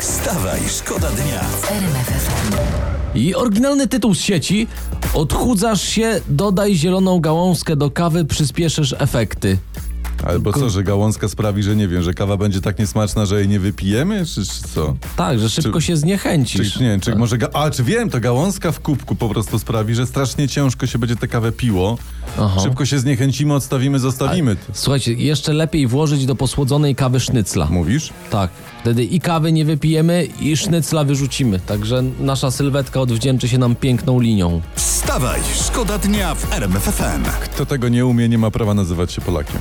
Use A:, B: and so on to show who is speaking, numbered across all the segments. A: Wstawaj, szkoda dnia.
B: I oryginalny tytuł z sieci. Odchudzasz się, dodaj zieloną gałązkę do kawy, przyspieszysz efekty.
C: Albo co, że gałązka sprawi, że nie wiem, że kawa będzie tak niesmaczna, że jej nie wypijemy, czy, czy co?
B: Tak, że szybko się
C: Czy,
B: zniechęcisz.
C: nie wiem, czy może... Ga- a, czy wiem, to gałązka w kubku po prostu sprawi, że strasznie ciężko się będzie tę kawę piło.
B: Aha.
C: Szybko się zniechęcimy, odstawimy, zostawimy.
B: Słuchajcie, jeszcze lepiej włożyć do posłodzonej kawy sznycla.
C: Mówisz?
B: Tak, wtedy i kawy nie wypijemy i sznycla wyrzucimy. Także nasza sylwetka odwdzięczy się nam piękną linią.
A: Wstawaj, szkoda dnia w RMFFM.
C: Kto tego nie umie, nie ma prawa nazywać się Polakiem.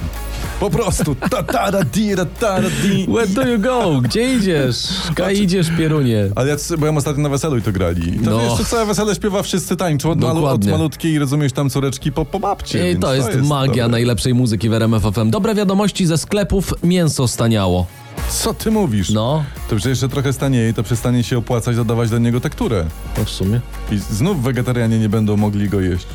C: Po prostu. Tatara di, ratara di.
B: Where do you go? Gdzie idziesz? Ka idziesz, pierunie.
C: Ale ja c- byłem ostatnio na weselu i to grali. I tam
B: No.
C: jeszcze całe wesele śpiewa, wszyscy tańczą od, malu, od
B: Dokładnie.
C: malutkiej, rozumiesz, tam córeczki po, po babcie.
B: I
C: więc
B: to jest magia
C: dobre.
B: najlepszej muzyki w RMF FM. Dobre wiadomości ze sklepów, mięso staniało.
C: Co ty mówisz?
B: No,
C: To przecież jeszcze trochę stanieje i to przestanie się opłacać dodawać do niego tekturę.
B: no w sumie.
C: I znów wegetarianie nie będą mogli go jeść.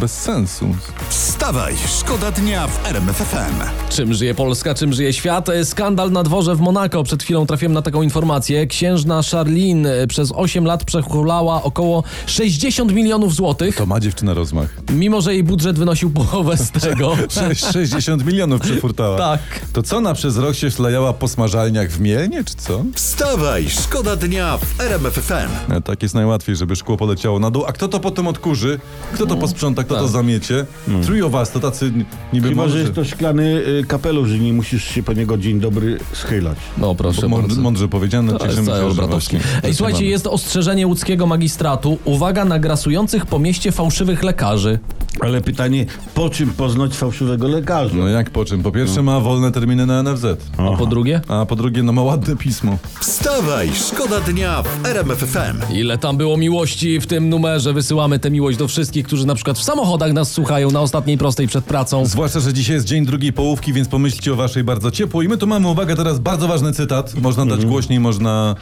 C: Bez sensu.
A: Wstawaj, szkoda dnia w RMFFM.
B: Czym żyje Polska, czym żyje świat? E, Skandal na dworze w Monako. Przed chwilą trafiłem na taką informację. Księżna Charlene e, przez 8 lat przechulała około 60 milionów złotych,
C: To ma dziewczyna rozmach.
B: mimo że jej budżet wynosił połowę z tego.
C: Sze- 60 milionów przefurtała.
B: Tak.
C: To co, na przez rok się szlajała po smażalniach w Mielnie, czy co?
A: Wstawaj, szkoda dnia w RMFFM.
C: E, Tak jest najłatwiej, żeby szkło poleciało na dół. A kto to potem odkurzy? Kto to posprząta? Kto to
B: tak.
C: zamiecie? Trio was, to tacy ni- niby
D: Chyba, że
C: mądrzy,
D: jest to szklany y, kapelusz i nie musisz się po niego dzień dobry schylać.
B: No proszę
C: mądrze,
B: bardzo.
C: mądrze powiedziane.
B: To jest
C: cieszymy
B: cały
C: się, że
B: Olbratowski.
C: właśnie
B: Ej,
C: tak
B: słuchajcie,
C: mamy.
B: jest ostrzeżenie łódzkiego magistratu. Uwaga na grasujących po mieście fałszywych lekarzy.
D: Ale pytanie, po czym poznać fałszywego lekarza?
C: No jak po czym? Po pierwsze ma wolne terminy na NFZ.
B: A po drugie?
C: A po drugie, no ma ładne pismo.
A: Wstawaj, szkoda dnia w RMFFM.
B: Ile tam było miłości w tym numerze? Wysyłamy tę miłość do wszystkich, którzy na przykład w samochodach nas słuchają na ostatniej prostej przed pracą.
C: Zwłaszcza, że dzisiaj jest dzień drugiej połówki, więc pomyślcie o waszej bardzo ciepło. I my tu mamy, uwaga, teraz bardzo ważny cytat. Można
B: Mhm.
C: dać głośniej, można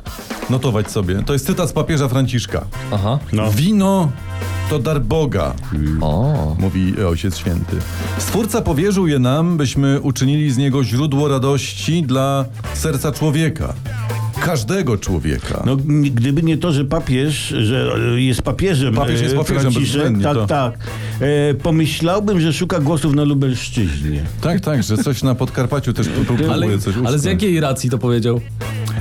C: notować sobie. To jest cytat z papieża Franciszka.
B: Aha. No.
C: Wino to dar Boga,
B: O.
C: mówi Ojciec Święty. Stwórca powierzył je nam, byśmy uczynili z niego źródło radości dla serca człowieka. Każdego człowieka.
D: No, n- gdyby nie to, że papież, że e, jest papieżem,
C: Papież jest
D: e,
C: papieżem,
D: Franciszek,
C: bezwzględnie
D: tak,
C: to.
D: tak, e, pomyślałbym, że szuka głosów na Lubelszczyźnie. No
C: Tak, tak, że coś na Podkarpaciu też pró- próbuje
B: Ale, ale
C: coś
B: z
C: utknąć.
B: jakiej racji to powiedział?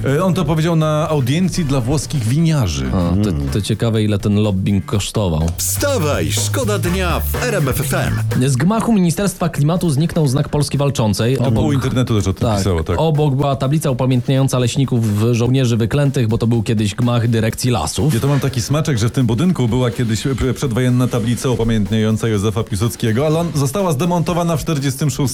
C: E, On to powiedział na audiencji dla włoskich winiarzy.
B: To, to ciekawe, ile ten lobbying kosztował.
A: Wstawaj, szkoda dnia w RMFFM.
B: Z gmachu Ministerstwa Klimatu zniknął znak Polski Walczącej.
C: Pół internetu też o tym pisało, tak.
B: Obok była tablica upamiętniająca leśników żołnierzy wyklętych, bo to był kiedyś gmach dyrekcji lasów.
C: Ja to mam taki smaczek, że w tym budynku była kiedyś e, przedwojenna tablica upamiętniająca Józefa Piłsudskiego, ale on została zdemontowana w 46,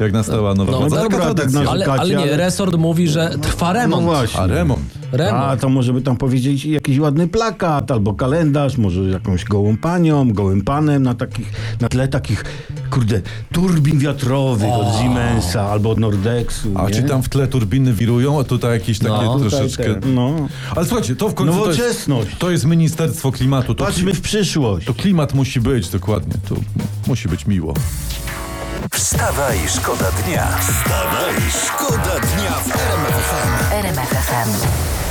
C: jak nastała nowa
B: No,
C: władza. Taka
D: dobra, tak
C: tradycja.
D: na-
B: ale,
D: szukacie,
B: ale nie,
D: ale-
B: resort mówi, że trwa remont.
D: No właśnie. Tak.
C: A remont.
B: Remont.
D: A, to może by tam powiedzieć jakiś ładny plakat albo kalendarz, może jakąś gołą panią, gołym panem na, takich, na tle takich, kurde, turbin wiatrowych od Siemensa albo od Nordexu.
C: A
D: nie?
C: czy tam w tle turbiny wirują, a tutaj jakieś takie
B: No.
D: Tutaj
C: troszeczkę...
D: te- No.
C: Ale słuchajcie, to w końcu To
D: Nowoczesność.
C: jest, to jest Ministerstwo Klimatu. To,
D: Patrzmy w przyszłość.
C: to klimat musi być, dokładnie. To musi być miło.
A: Wstawaj, szkoda dnia. Wstawaj, szkoda dnia w RMFFM.
E: RMFFM.